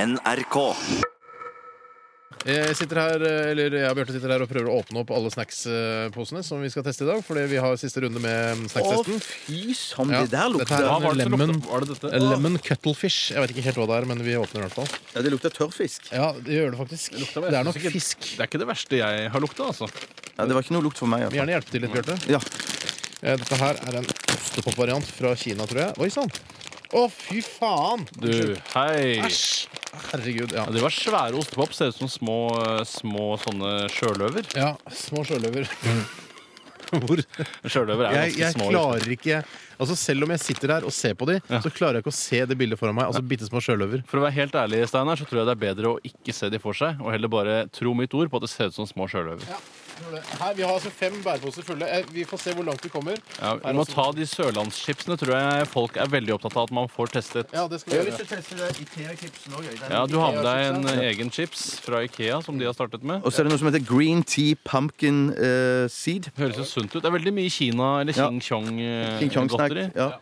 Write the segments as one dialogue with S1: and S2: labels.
S1: NRK.
S2: Jeg sitter her, eller jeg og Bjarte sitter her og prøver å åpne opp alle snacksposene som vi skal teste i dag. Fordi vi har siste runde med snackstesten.
S3: fy som
S2: Ja,
S3: det der
S2: dette
S3: lukter.
S2: her er
S4: var
S2: en
S4: det som
S2: lemon,
S4: lukta? Var det dette?
S2: Eh,
S4: Ah.
S2: lemon cuttlefish. Jeg vet ikke helt hva det er, men vi åpner i hvert fall.
S3: Ja, det lukter tørrfisk.
S2: Ja, det gjør det faktisk.
S4: lukter, men jeg
S2: Det er
S4: synes
S2: nok
S4: ikke-
S2: fisk.
S4: Det er ikke det verste jeg har lukta, altså.
S3: Ja, det var ikke noe lukt for meg.
S2: Vi vil gjerne hjelpe til litt, Bjarte.
S3: Ja.
S2: Eh, Dette her er en ostepop-variant fra Kina, tror jeg. Oi sann! Å, fy faen!
S4: Du, hei.
S2: Æsj! Herregud. Ja.
S4: Ja, det var svære ostepop. Ser ut som små, eh, små sånne sjøløver.
S2: ja små sjøløver. Hvor?
S4: Sjøløver er
S2: Jeg,
S4: ganske
S2: jeg
S4: små. liksom.
S2: klarer ikke Altså Selv om jeg sitter her og ser på de, så klarer jeg ikke å se det bildet foran meg. Altså bitte små sjøløver.
S4: For å være helt ærlig, Steinar, så tror jeg det er bedre å ikke se de for seg, og heller bare tro mitt ord på at det ser ut som små sjøløver.
S2: Her, Vi har altså fem bæreposer fulle. Eh, Vi får se hvor langt vi kommer.
S4: Ja, vi må ta de sørlandschipsene, tror jeg folk er veldig opptatt av at man får testet.
S2: Ja, det skal vi gjøre.
S3: til å teste det Ikea-chipsen òg.
S4: Ja, Du har med deg en eh, egen chips fra Ikea som de har startet med.
S3: Og så er det noe som heter green tea pumpkin eh, seed.
S4: Høres jo sunt ut. Det er veldig mye Kina eller eh,
S3: Ja.
S4: King
S3: King Kong-snack.
S4: Chong-godteri.
S3: Ja.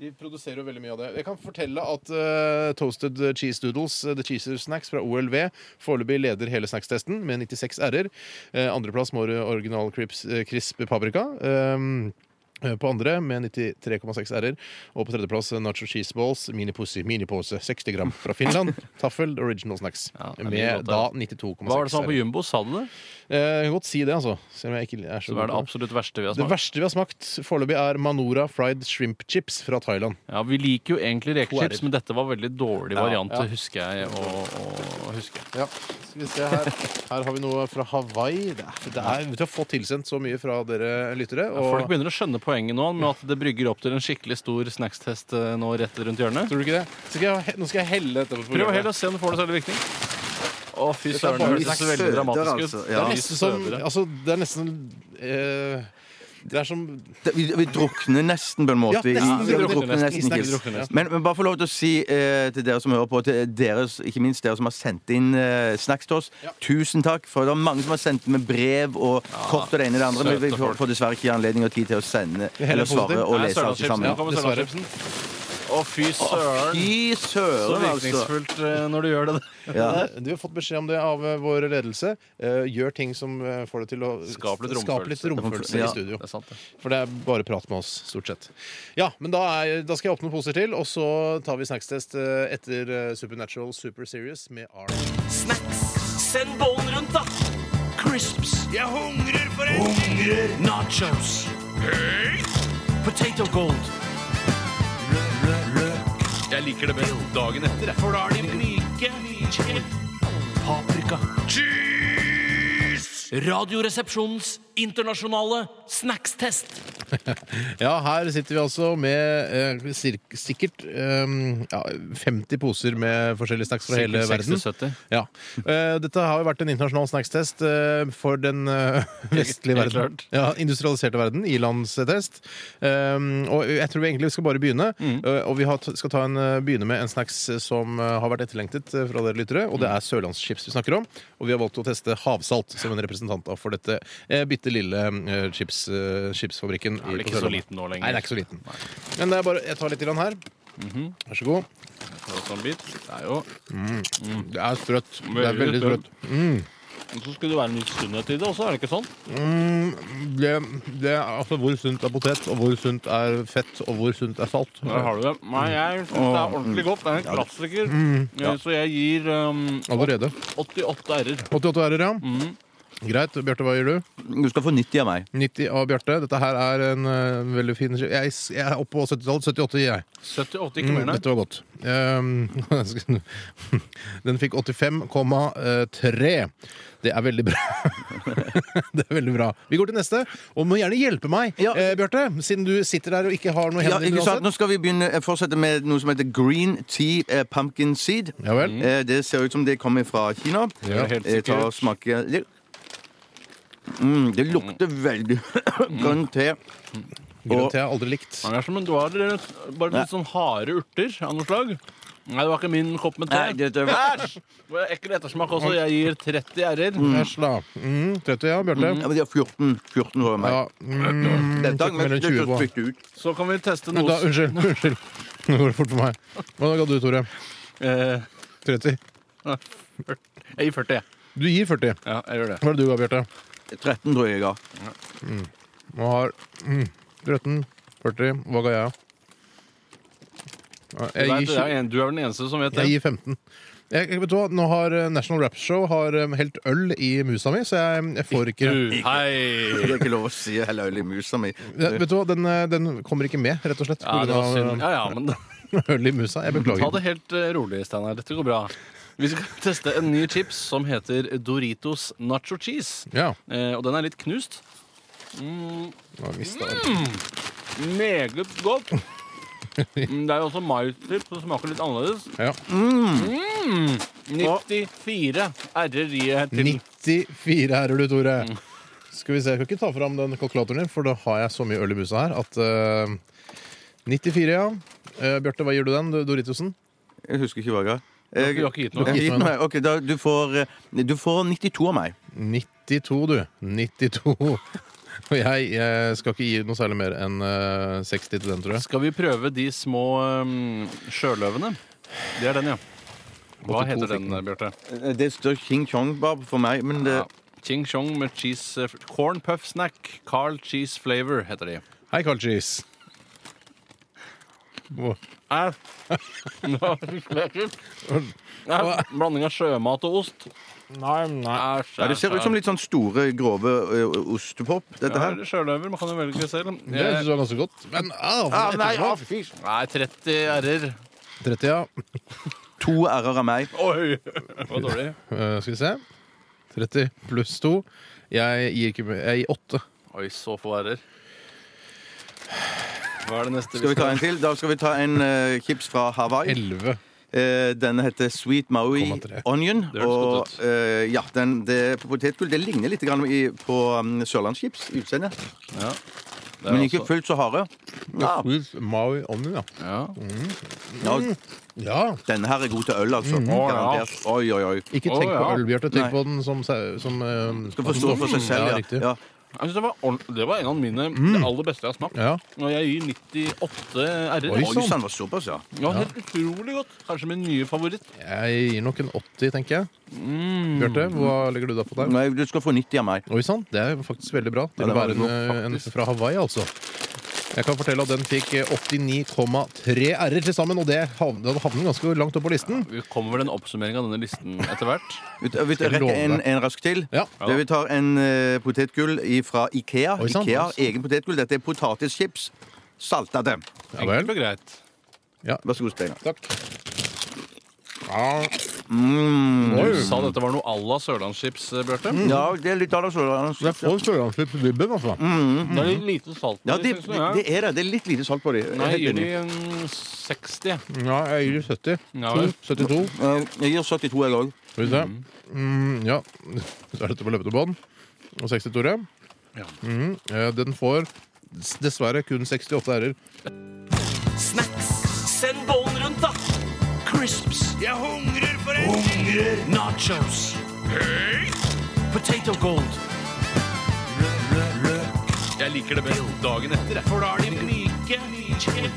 S2: De produserer jo veldig mye av det. Jeg kan fortelle at eh, Toasted Cheese Doodles, eh, The Cheeser Snacks fra OLV, foreløpig leder hele snackstesten med 96 r-er. Eh, andreplass må være Original Crips, eh, Crisp Paprika. Um, eh, på andre med 93,6 r-er. Og på tredjeplass eh, Nacho Cheese Balls mini-pussy, minipose, 60 gram fra Finland. Taffel Original Snacks.
S4: Ja, det er mye
S2: med
S4: godt,
S2: da
S4: ja.
S2: 92,6
S4: Hva var det som var på
S2: r-er.
S4: Jumbo? Sa du det?
S2: Eh, jeg kan godt si det, altså. Selv om jeg ikke er så
S4: Så
S2: god
S4: det er det
S2: på det.
S4: absolutt verste vi har
S2: Det
S4: smakt.
S2: verste vi har smakt foreløpig, er Manora fried shrimp chips fra Thailand.
S4: Ja, Vi liker jo egentlig rekechips,
S2: Poerer.
S4: men dette var veldig dårlig
S2: Ja,
S4: variant,
S2: ja.
S4: husker jeg å, å huske.
S2: Ja, skal vi se her. Her har vi noe fra Hawaii. Det er, det er, vi har fått tilsendt så mye fra dere lyttere.
S4: Ja, Folk
S2: Og,
S4: begynner å skjønne poenget nå med at det brygger opp til en skikkelig stor snackstest eh, nå rett rundt hjørnet.
S2: tror du ikke det? Så skal jeg, nå skal jeg helle dette på
S4: Prøv å
S2: programmet.
S4: helle og se om du får noe særlig virkning. Å, fy
S2: Dette er
S4: søren, det
S2: bare
S4: høres
S3: snacks.
S4: veldig dramatisk ut.
S3: Det er altså-
S2: Det
S3: ja.
S2: er
S4: Fy
S2: nesten som
S4: sødere.
S2: altså, Det er nesten eh, Det er som
S3: Det, vi, vi drukner nesten på en måte.
S2: Ja,
S3: i-
S2: nesten, vi
S3: vi
S2: drukner
S3: drukner
S4: nesten.
S3: nesten
S4: Vi
S3: ikke.
S4: drukner nesten.
S3: Men, men bare få lov til å si eh, til dere som hører på, til dere, ikke minst dere som har sendt inn eh, snacks til oss,
S2: Ja.
S3: tusen takk. For det er mange som har sendt med brev og kort og det ene og det andre. Men vi
S4: søte folk.
S3: får, får dessverre ikke anledning og tid til å sende
S2: er
S3: eller
S2: positivt.
S3: svare og
S4: Nei,
S3: lese alt
S4: Sørlandschipsen.
S3: sammen.
S4: Nå kommer
S2: Dessverre.
S4: Sørlandschipsen. Å, fy søren.
S3: Fy
S4: Så
S3: søren, altså.
S4: virkningsfullt eh, når du gjør det.
S3: Ja.
S2: Du har fått beskjed om det av eh, vår ledelse. Eh, gjør ting som eh, får det til å
S4: Skape litt
S2: skape litt
S4: romfølelse.
S2: romfølelse
S3: Ja.
S2: i studio.
S4: Det er sant, det.
S2: For det er bare prat med oss, stort sett. Ja, men da, er, da skal jeg åpne poser til, og så tar vi snackstest eh, etter eh, Supernatural Super Series med R.
S5: Snacks. Send bollen rundt, da. Crisps. Jeg hungrer for en Hungrer. Nachos. Hey. Potato gold. Jeg liker det best dagen etter. For da er de myke. Paprika. Cheese! Radioresepsjonens internasjonale snackstest.
S2: Ja, her sitter vi altså med eh, sir- sikkert eh, ja, 50 poser med forskjellige snacks fra hele verden.
S4: 60-70.
S2: Ja. Eh, dette har jo vært en internasjonal snackstest eh, for den eh, vestlige
S4: Helt
S2: verden.
S4: klart.
S2: Ja, industrialiserte verden. Ilandstest. Um, og jeg tror vi egentlig skal bare begynne.
S4: Mm.
S2: Eh, og vi har, t- skal ta en, eh, begynne med en snacks som eh, har vært etterlengtet eh, fra dere lyttere.
S4: Mm.
S2: Og det er sørlandschips vi snakker om. Og vi har valgt å teste havsalt som en representant da for dette eh, bitte lille eh, chips, eh, chipsfabrikken. i- på
S4: vel ikke så
S2: Sørlandet.
S4: liten nå lenger.
S2: Nei, den er ikke så liten. Men det er bare, jeg tar litt grann her.
S4: Mhm.
S2: Vær så god.
S4: Og sånn bit. Det er jo
S2: Det er sprøtt. Det er veldig
S4: Mm. Veldig
S2: sprøtt.
S4: Men så skulle det være en litt sunnhet i det også, er det ikke sånn?
S2: det, det er altså hvor sunt er potet, og hvor sunt er fett, og hvor sunt er salt.
S4: Der har du det. Nei, jeg syns det er ordentlig godt. Det er en klassiker. Eh, Så jeg gir um,
S2: Allerede.
S4: 88 r-er.
S2: 88 ærer, ja.
S3: Mm.
S2: Greit. Bjarte, hva gjør du?
S3: Du skal få 90 av meg.
S2: 90 av Bjarte. Dette her er en eh, veldig fin skive. Jeg, jeg er oppe på 70-tallet. 78 gir jeg.
S4: 78, ikke mer, nei.
S2: Dette var godt. Ehm, den fikk 85,3. Det er veldig bra. det er veldig bra. Vi går til neste. Og må gjerne hjelpe meg,
S3: Ja.
S2: eh, Bjarte, siden du sitter der og ikke har noe
S3: Ja,
S2: hender
S3: ikke sant? Nå skal vi begynne, eh, fortsette med noe som heter green tea eh, pumpkin seed.
S2: Ja vel.
S3: Eh, Det ser ut som det kommer fra Kina.
S2: Ja.
S4: Helt
S3: Jeg tar og
S4: sikkert.
S3: smaker litt. Mm, det lukter veldig grønn te.
S2: Grønt jeg har aldri likt.
S4: Han er som en duar, bare litt sånn harde urter av noe slag. Nei, det var ikke min kopp med
S3: Nei,
S4: te.
S3: dette-
S4: Æsj! Det er Ekkel ettersmak også. Jeg gir 30 r-er.
S2: Æsj, da. Mm, 30, ja, Bjarte.
S3: Ja, men de har 14, 14 over meg.
S2: Ja, mm,
S3: Dette har jeg
S2: Mellom
S3: lyst
S2: 20
S3: til
S2: på.
S3: å spytte ut.
S4: Så kan vi teste
S2: da,
S4: noe s-
S2: unnskyld. unnskyld. Nå går det fort for meg. Hva ga du, Tore?
S4: eh,
S2: 30.
S4: Jeg gir 40, jeg.
S2: Du gir 40.
S4: Ja, jeg gjør det.
S2: Hva er det du ga, Bjarte?
S3: 13 tror jeg jeg ga.
S2: Nå har mm, 13, 40. Hva ga jeg? Ja,
S4: Du,
S2: Jeg gir,
S4: vet, det
S2: 20,
S4: er jo en, du er den eneste som vet det.
S2: jeg gir 15. Jeg, vet du hva, nå har eh, National Rap Show har eh, helt øl i musa mi, så jeg, jeg får ikke
S4: Du,
S3: Det
S4: hei!
S3: er ikke lov å si heller øl i musa mi.
S2: Ja, Vet du hva, den, eh, den kommer ikke med, rett og slett.
S4: Ja, det var synd. Ja, ja, men
S2: pga. eh, øl i musa. Jeg
S4: ta
S2: beklager.
S4: det helt eh, rolig, Steinar. Dette går bra. Vi skal teste en ny chips som heter Doritos nacho cheese.
S2: Ja,
S4: Eh, og den er litt knust.
S2: nå visste jeg.
S4: Mm. Meget godt. Mm, Det er jo også maischips som smaker litt annerledes.
S2: Ja.
S4: 94 r-er i til.
S2: 94 er du, Tore. Skal vi se, Jeg kan ikke ta fram den kalkulatoren din, for da har jeg så mye øl i musa her at eh, 94, ja. Eh, Bjarte, hva gir du den, du- Doritosen?
S3: Jeg husker ikke hva jeg ga.
S4: har ikke- du har ikke gitt noe.
S3: Jeg har gitt noe. Ok, da, du, får, eh, du får 92 av meg.
S2: 92, du. 92. Og jeg, eh, skal ikke gi noe særlig mer enn eh, 60 til den, tror jeg.
S4: Skal vi prøve de små um, sjøløvene? Det er den, ja. Hva
S2: 82
S4: heter
S2: fikk
S4: den, Bjarte?
S3: Eh, Det står King Kong bare for meg, men det,
S4: Ja. Ching Chong med cheese eh, Corn puff snack. Carl cheese flavor heter de.
S2: Hei, Carl Cheese. Hvor-
S4: Æ. Nå fikk jeg ikke. Æ. Blanding av sjømat og ost. Æsj.
S3: ja, det ser ut som litt sånn store, grove eh, ostepop, dette her.
S4: Eller sjøløver. Man kan jo velge selv.
S2: Det syns
S4: Jeg-
S2: jeg var ganske godt. Men au,
S3: Ah,
S2: etterpå.
S3: nei, ah, fy.
S4: Nei, 30 r-er.
S2: 30, ja.
S3: To r-er av meg.
S4: Oi! Det var dårlig.
S2: Eh, skal vi se. 30 pluss 2. Jeg gir ikke mer. Jeg gir 8.
S4: Oi, så få r-er. Hva er det neste
S3: Skal vi ta en til? Da skal vi ta en eh, chips fra Hawaii.
S2: 11.
S3: Eh, denne heter Sweet Maui
S2: 0,3.
S3: Onion.
S4: Det høres
S3: og
S4: godt ut.
S3: eh, ja, den, det er på potetgull. Det ligner litt grann i, på um, sørlandschips utseende.
S4: Ja. altså. Det er
S3: Men ikke
S4: også-
S3: fullt så harde. Ja.
S2: Sweet Maui onion, ja.
S4: Ja.
S3: Ja,
S2: ja.
S3: denne her er god til øl, altså.
S4: Å, ja.
S3: Garantert. Oi, oi, oi.
S2: Ikke
S4: Å,
S2: tenk på
S4: ja.
S2: øl, Bjarte. Tenk
S3: Nei.
S2: på den som, sau- som eh,
S3: Skal forstå for seg selv.
S2: Ja,
S3: Ja.
S2: riktig.
S3: Ja.
S4: Jeg synes det, var ordent- det var en av mine
S3: Mm.
S4: Det aller beste jeg har smakt.
S2: Ja.
S4: Og jeg gir 98 r-er.
S2: Oi,
S3: Oi
S2: sånn.
S3: sann, var såpass, ja.
S4: Det var helt utrolig godt. Kanskje min nye favoritt.
S2: Jeg gir nok en 80, tenker jeg.
S3: Mm.
S2: Bjarte, hva legger du da på der?
S3: Nei, du skal få 90 av meg.
S2: Oi sann, det er faktisk veldig bra.
S3: Ja,
S2: Til å
S3: det var
S2: være
S3: det
S2: en, en fra Hawaii, altså. Jeg kan fortelle at den fikk eh, 89,3 r-er til sammen, og det havn- den havner ganske langt opp på listen.
S4: Vi kommer vel en oppsummering av denne listen etter hvert.
S3: Vil du- vil du
S2: jeg
S3: rekke
S2: love
S3: en,
S2: deg?
S3: en rask til?
S2: Ja.
S3: Det Vi tar en eh, potetgull fra Ikea.
S2: Oi, sann.
S3: Ikea, Egen potetgull. Dette er potetchips. Salta dem.
S2: Ja vel.
S4: Enkelt og greit.
S3: Vær så god, Steinar.
S2: Takk. Ja.
S3: Mm.
S4: Du
S2: Oi.
S4: sa dette var noe à la sørlandschips, eh, Bjarte.
S3: Ja, det er litt av det
S2: Det er
S3: sørlandschips.
S2: for sørlandslipp i vibben, altså.
S4: Det er litt lite salt i
S3: Ja,
S4: det,
S3: det,
S4: synes jeg.
S3: det er det. Det er litt lite salt på dem.
S4: Nei, jeg gir de mm, 60.
S2: Mm. Ja, jeg gir 70.
S4: Ja vel.
S2: 72.
S3: Jeg gir 72, jeg òg.
S2: Skal vi se. Mm, ja, så er dette på løpende bånd. Og 60, Tore.
S4: Ja.
S2: Mm, eh, den får s- dessverre kun 68 r-er.
S5: Snacks. Send bollen rundt, da. Crisps. Jeg hungrer for en Hungrer. Nachos. Potato gold.
S4: Jeg liker det best dagen etter.
S5: For da er de myke.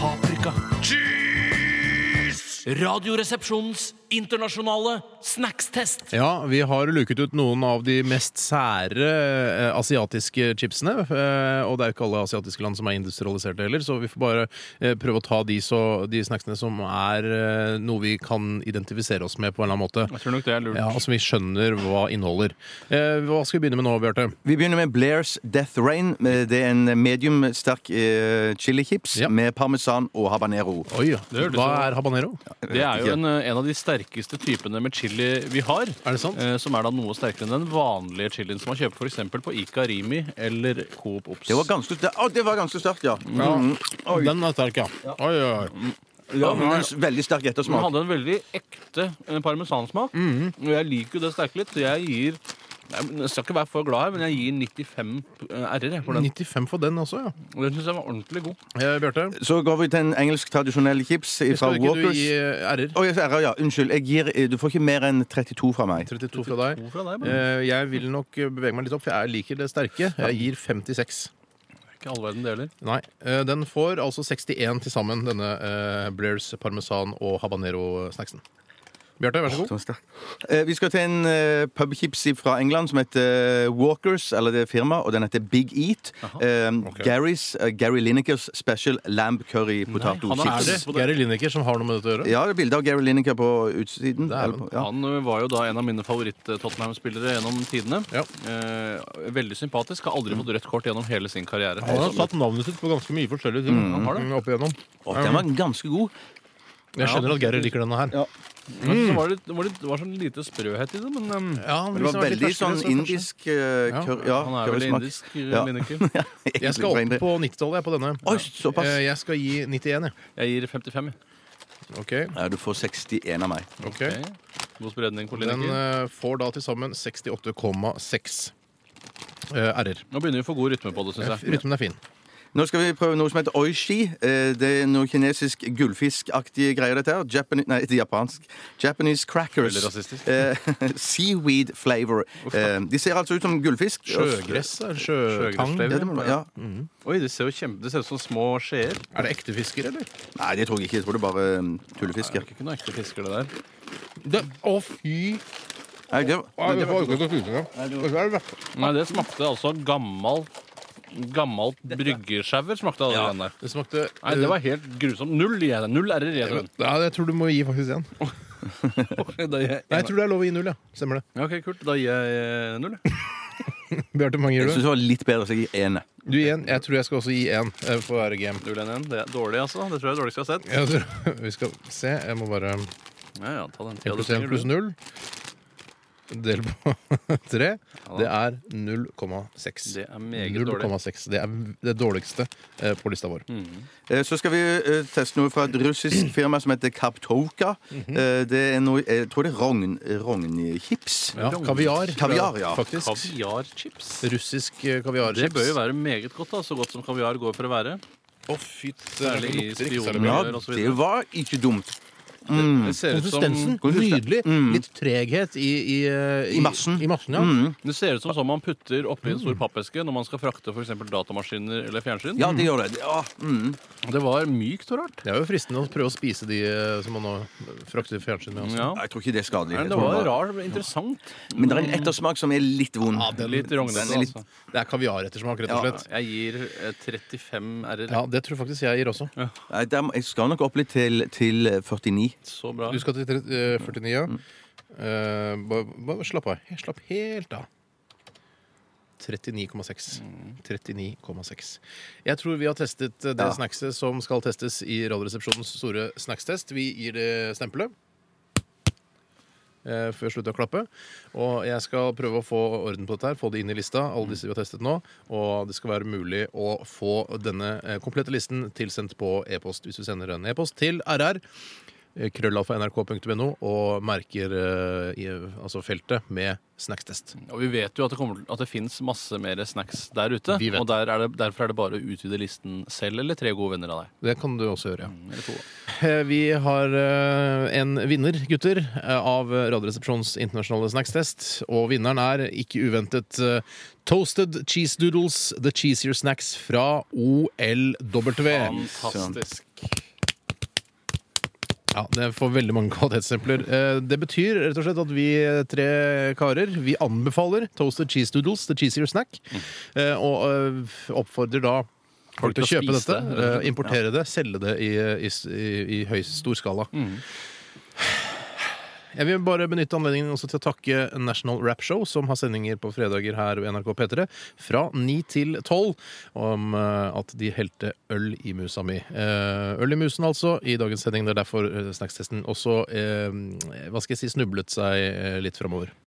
S5: Paprika. Cheese! Radioresepsjonens internasjonale snackstest.
S2: Ja, vi har luket ut noen av de mest sære eh, asiatiske chipsene. Eh, og det er jo ikke alle asiatiske land som er industrialiserte heller, så vi får bare eh, prøve å ta de, så, de snacksene som er eh, noe vi kan identifisere oss med på en eller annen måte.
S4: Jeg tror nok det er lurt.
S2: Ja, og som vi skjønner hva inneholder. Eh, hva skal vi begynne med nå, Bjarte?
S3: Vi begynner med Blairs Death Rain. Eh, Det er en medium sterk eh, chilichips
S2: Ja.
S3: med parmesan og habanero.
S2: Oi,
S4: Det hørtes
S2: hva
S4: sånn
S2: er habanero?
S4: Det er jo en, eh, en av de sterkeste typene med chili vi har.
S2: Er det sant?
S4: Eh, som er da noe sterkere enn den vanlige chilien som man kjøper for eksempel på Ica Rimi eller Coop Ops.
S3: Det var ganske, sterkt- Å, det var ganske sterkt, ja. Mm. Oi.
S2: Den er sterk, ja. Oi, oi, oi.
S3: ja men en s- veldig sterk
S4: Den
S3: ettersmak.
S4: hadde en veldig ekte eh, parmesansmak. Og jeg liker jo det sterke litt, så jeg gir Nei, men Jeg skal ikke være for glad her, men jeg gir 95 r-er for den.
S2: 95 for den også, ja.
S4: Og Den syns jeg var ordentlig god.
S2: Eh, Bjarte,
S3: Så går vi til en engelsk tradisjonell chips fra
S2: skal ikke du
S3: Walkers.
S2: gi eh, r-er?
S3: Å, jeg- ære, ja. Unnskyld. Jeg gir, eh, du får ikke mer enn 32 fra meg.
S2: 32 fra deg.
S4: God fra deg, men
S2: Eh, Jeg vil nok bevege meg litt opp, for jeg liker det sterke. Jeg gir 56.
S4: ikke all verden deler.
S2: Nei. eh, Den får altså 61 til sammen, denne eh, Blairs parmesan og habanero-snacksen. Bjarte, vær så god.
S3: Som er sterkt. Eh, Vi skal til en eh, pubchips fra England som heter eh, Walkers, eller det er firma, og den heter Big Eat. Eh, Gary's, eh, Gary Linekers Special Lamb Curry Potato
S4: han er
S2: Er det
S3: Chips.
S2: Geir Lineker som har noe med dette å gjøre?
S3: Ja, det er bilde av Gary Lineker på utsiden.
S2: Det er
S3: eller på- ja.
S4: Han ø, var jo da en av mine favoritt-Tottenham-spillere gjennom tidene.
S2: Ja.
S4: Eh, veldig sympatisk. Har aldri fått rødt kort gjennom hele sin karriere.
S2: Han har satt navnet sitt på ganske mye forskjellige ting. Mm, opp igjennom.
S3: Å, den var ganske god.
S2: Jeg skjønner at Geir liker denne her.
S3: Ja.
S4: Men så var det, var det, det var sånn lite sprøhet i det, men eh, ø,
S2: Ja, han
S3: Det var
S2: liksom har vært
S3: veldig
S2: litt ferskere,
S3: sånn
S2: så kanskje-
S3: indisk eh,
S2: Ja,
S3: curry. Ja,
S4: han er vel
S3: currysmak.
S4: indisk, eh,
S3: Ja.
S4: ja. Lineker.
S3: Egentlig
S2: eh, Jeg skal
S3: fra India.
S2: opp på 90-tallet jeg, på denne.
S3: Oi, såpass.
S2: Eh, Jeg skal gi 91, jeg.
S4: Jeg gir 55. jeg.
S2: Ok,
S3: Ja, du får 61 av meg.
S2: ok.
S4: Ok. God spredning på
S2: Den
S4: Lineker.
S2: eh, får da til sammen 68,6 eh, r-er.
S4: Nå begynner vi å få god rytme på det, syns jeg.
S2: Rytmen er fin.
S3: Nå skal vi prøve noe som heter oishi. Eh, Det er noe kinesisk gullfiskaktige greier, dette her. Japani nei, det er japansk. Japanese crackers.
S4: Veldig rasistisk.
S3: Eh, seaweed flavor. Eh, de ser altså ut som gullfisk.
S2: Sjøgress? er det Sjøtang?
S4: Sjøgressflavor.
S3: Ja, det må, ja.
S4: Oi, det ser jo kjempe, det ser ut som små skjeer.
S2: Er det ekte fisker, eller?
S3: Nei, det tror jeg ikke. Jeg tror det er bare um, tullefisk.
S4: Det
S3: ja.
S4: er ikke noe ekte fisker, det der.
S2: Det, å, fy!
S3: Nei, det var-
S2: Nei, det var ikke til å spise engang.
S4: Nei, det smakte altså gammel Gammelt bryggesjauer smakte alle greiene der.
S2: Det smakte
S4: Nei, det var helt grusomt. Null gir jeg deg. Null r-er gir jeg deg.
S2: ja, Jeg tror du må gi faktisk én. Nei,
S4: Da gir jeg-
S2: jeg tror det er lov å gi null, ja. Stemmer det.
S4: Ja, OK, kult. Da gir jeg eh, null. jeg.
S2: Bjarte, hvor mange
S3: Jeg syns
S2: gir du?
S3: det var litt bedre, så jeg gir én.
S2: Du gir én. Jeg tror jeg skal også gi én eh, for å være game.
S4: Null enn en. Det er dårlig, altså. Det tror jeg er dårligst jeg har sett.
S2: Jeg tror, vi skal se. Jeg må bare
S4: Ja, ja, ta
S2: 1
S4: den tida du
S2: pluss 1
S4: trenger,
S2: pluss
S4: du.
S2: 0. Del på 3. Det er 0,6.
S4: Det er meget dårlig.
S2: 0,6. Det er det dårligste eh, på lista vår.
S4: Mm.
S3: Eh, Så skal vi eh, teste noe fra et russisk firma som heter Kaptovka. Eh, Det er noe Jeg tror det er rogn, rognchips.
S2: Ja, kaviar.
S3: Kaviar, ja.
S2: Faktisk.
S4: Kaviarchips.
S2: Russisk eh, kaviarchips.
S4: Det bør jo være meget godt, da. Så godt som kaviar går for å være.
S2: Å, fy
S4: Særlig i
S2: lukter ikke særlig
S4: spion-
S2: bra.
S3: Ja,
S4: og så videre.
S3: det var ikke dumt.
S4: Det ser ut Mm. som
S2: Konsistensen. Nydelig. Litt treghet i, i, eh,
S3: I massen.
S2: I massen, ja.
S4: Det ser ut som sånn man putter oppi en stor pappeske når man skal frakte for eksempel datamaskiner eller fjernsyn.
S3: Ja, det gjør det. Ja, mm.
S4: Det var mykt og rart.
S2: Det er jo fristende å prøve å spise de eh, som man nå frakter fjernsyn med. Altså.
S4: Ja.
S3: Jeg tror ikke det er skadelig.
S4: Men
S3: Jeg
S4: det
S3: tror
S4: var
S3: det var-
S4: rar, interessant.
S3: Men det er en ettersmak som er litt vond.
S4: Litt rognete,
S3: Den er litt-
S4: altså.
S2: Det er kaviar ettersmak, rett og
S3: Ja.
S2: slett.
S4: Jeg gir eh, 35 r-er.
S2: Ja, Det tror faktisk jeg gir også.
S3: Nei, der må- Jeg skal nok opp litt til, til 49.
S4: Så bra.
S2: Du skal til tre- eh, 49, ja. Eh, bare, bare slapp av. He- Slapp helt av. 39,6. 39,6. Jeg tror vi har testet eh, det
S3: Ja.
S2: snackset som skal testes i Radioresepsjonens store snackstest. Vi gir det stempelet. eh, Før jeg slutter å klappe. Og jeg skal prøve å få orden på dette. her Få det inn i lista. Alle disse vi har testet nå Og det skal være mulig å få denne eh, komplette listen tilsendt på e-post. Hvis du sender en e-post til rr Eh, krøllalfa nrk.no og merker eh, i, altså feltet med snackstest.
S4: Og vi vet jo at det, kommer, til- at det fins masse mer snacks der ute.
S2: Vi vet.
S4: Og der er det, derfor er det bare å utvide listen selv eller tre gode venner av deg.
S2: Det kan du også gjøre. ja.
S4: Eller to.
S2: Eh, Vi har eh, en vinner, gutter, eh, av Radioresepsjonens internasjonale snackstest. Og vinneren er, ikke uventet, eh, Toasted Cheese Doodles The Cheesier Snacks fra OLW.
S4: Fantastisk.
S2: Ja, Det får veldig mange kvalitetssempler. Eh, Det betyr rett og slett at vi tre karer vi anbefaler Toasted Cheese Doodles, The Cheesier Snack,
S4: Mm.
S2: eh, og eh, oppfordrer da folk til å kjøpe
S4: spise
S2: dette,
S4: det, rett og slett.
S2: eh, importere det, selge det i, eh, i, i, i høy stor
S4: Mm.
S2: skala. Jeg vil bare benytte anledningen også til å takke National Rap Show, som har sendinger på fredager her ved NRK P3 fra 9 til 12, om eh, at de helte øl i musa mi. Eh, Øl i musen, altså, i dagens sending. Det er derfor eh, snackstesten også eh, hva skal jeg si, snublet seg eh, litt framover.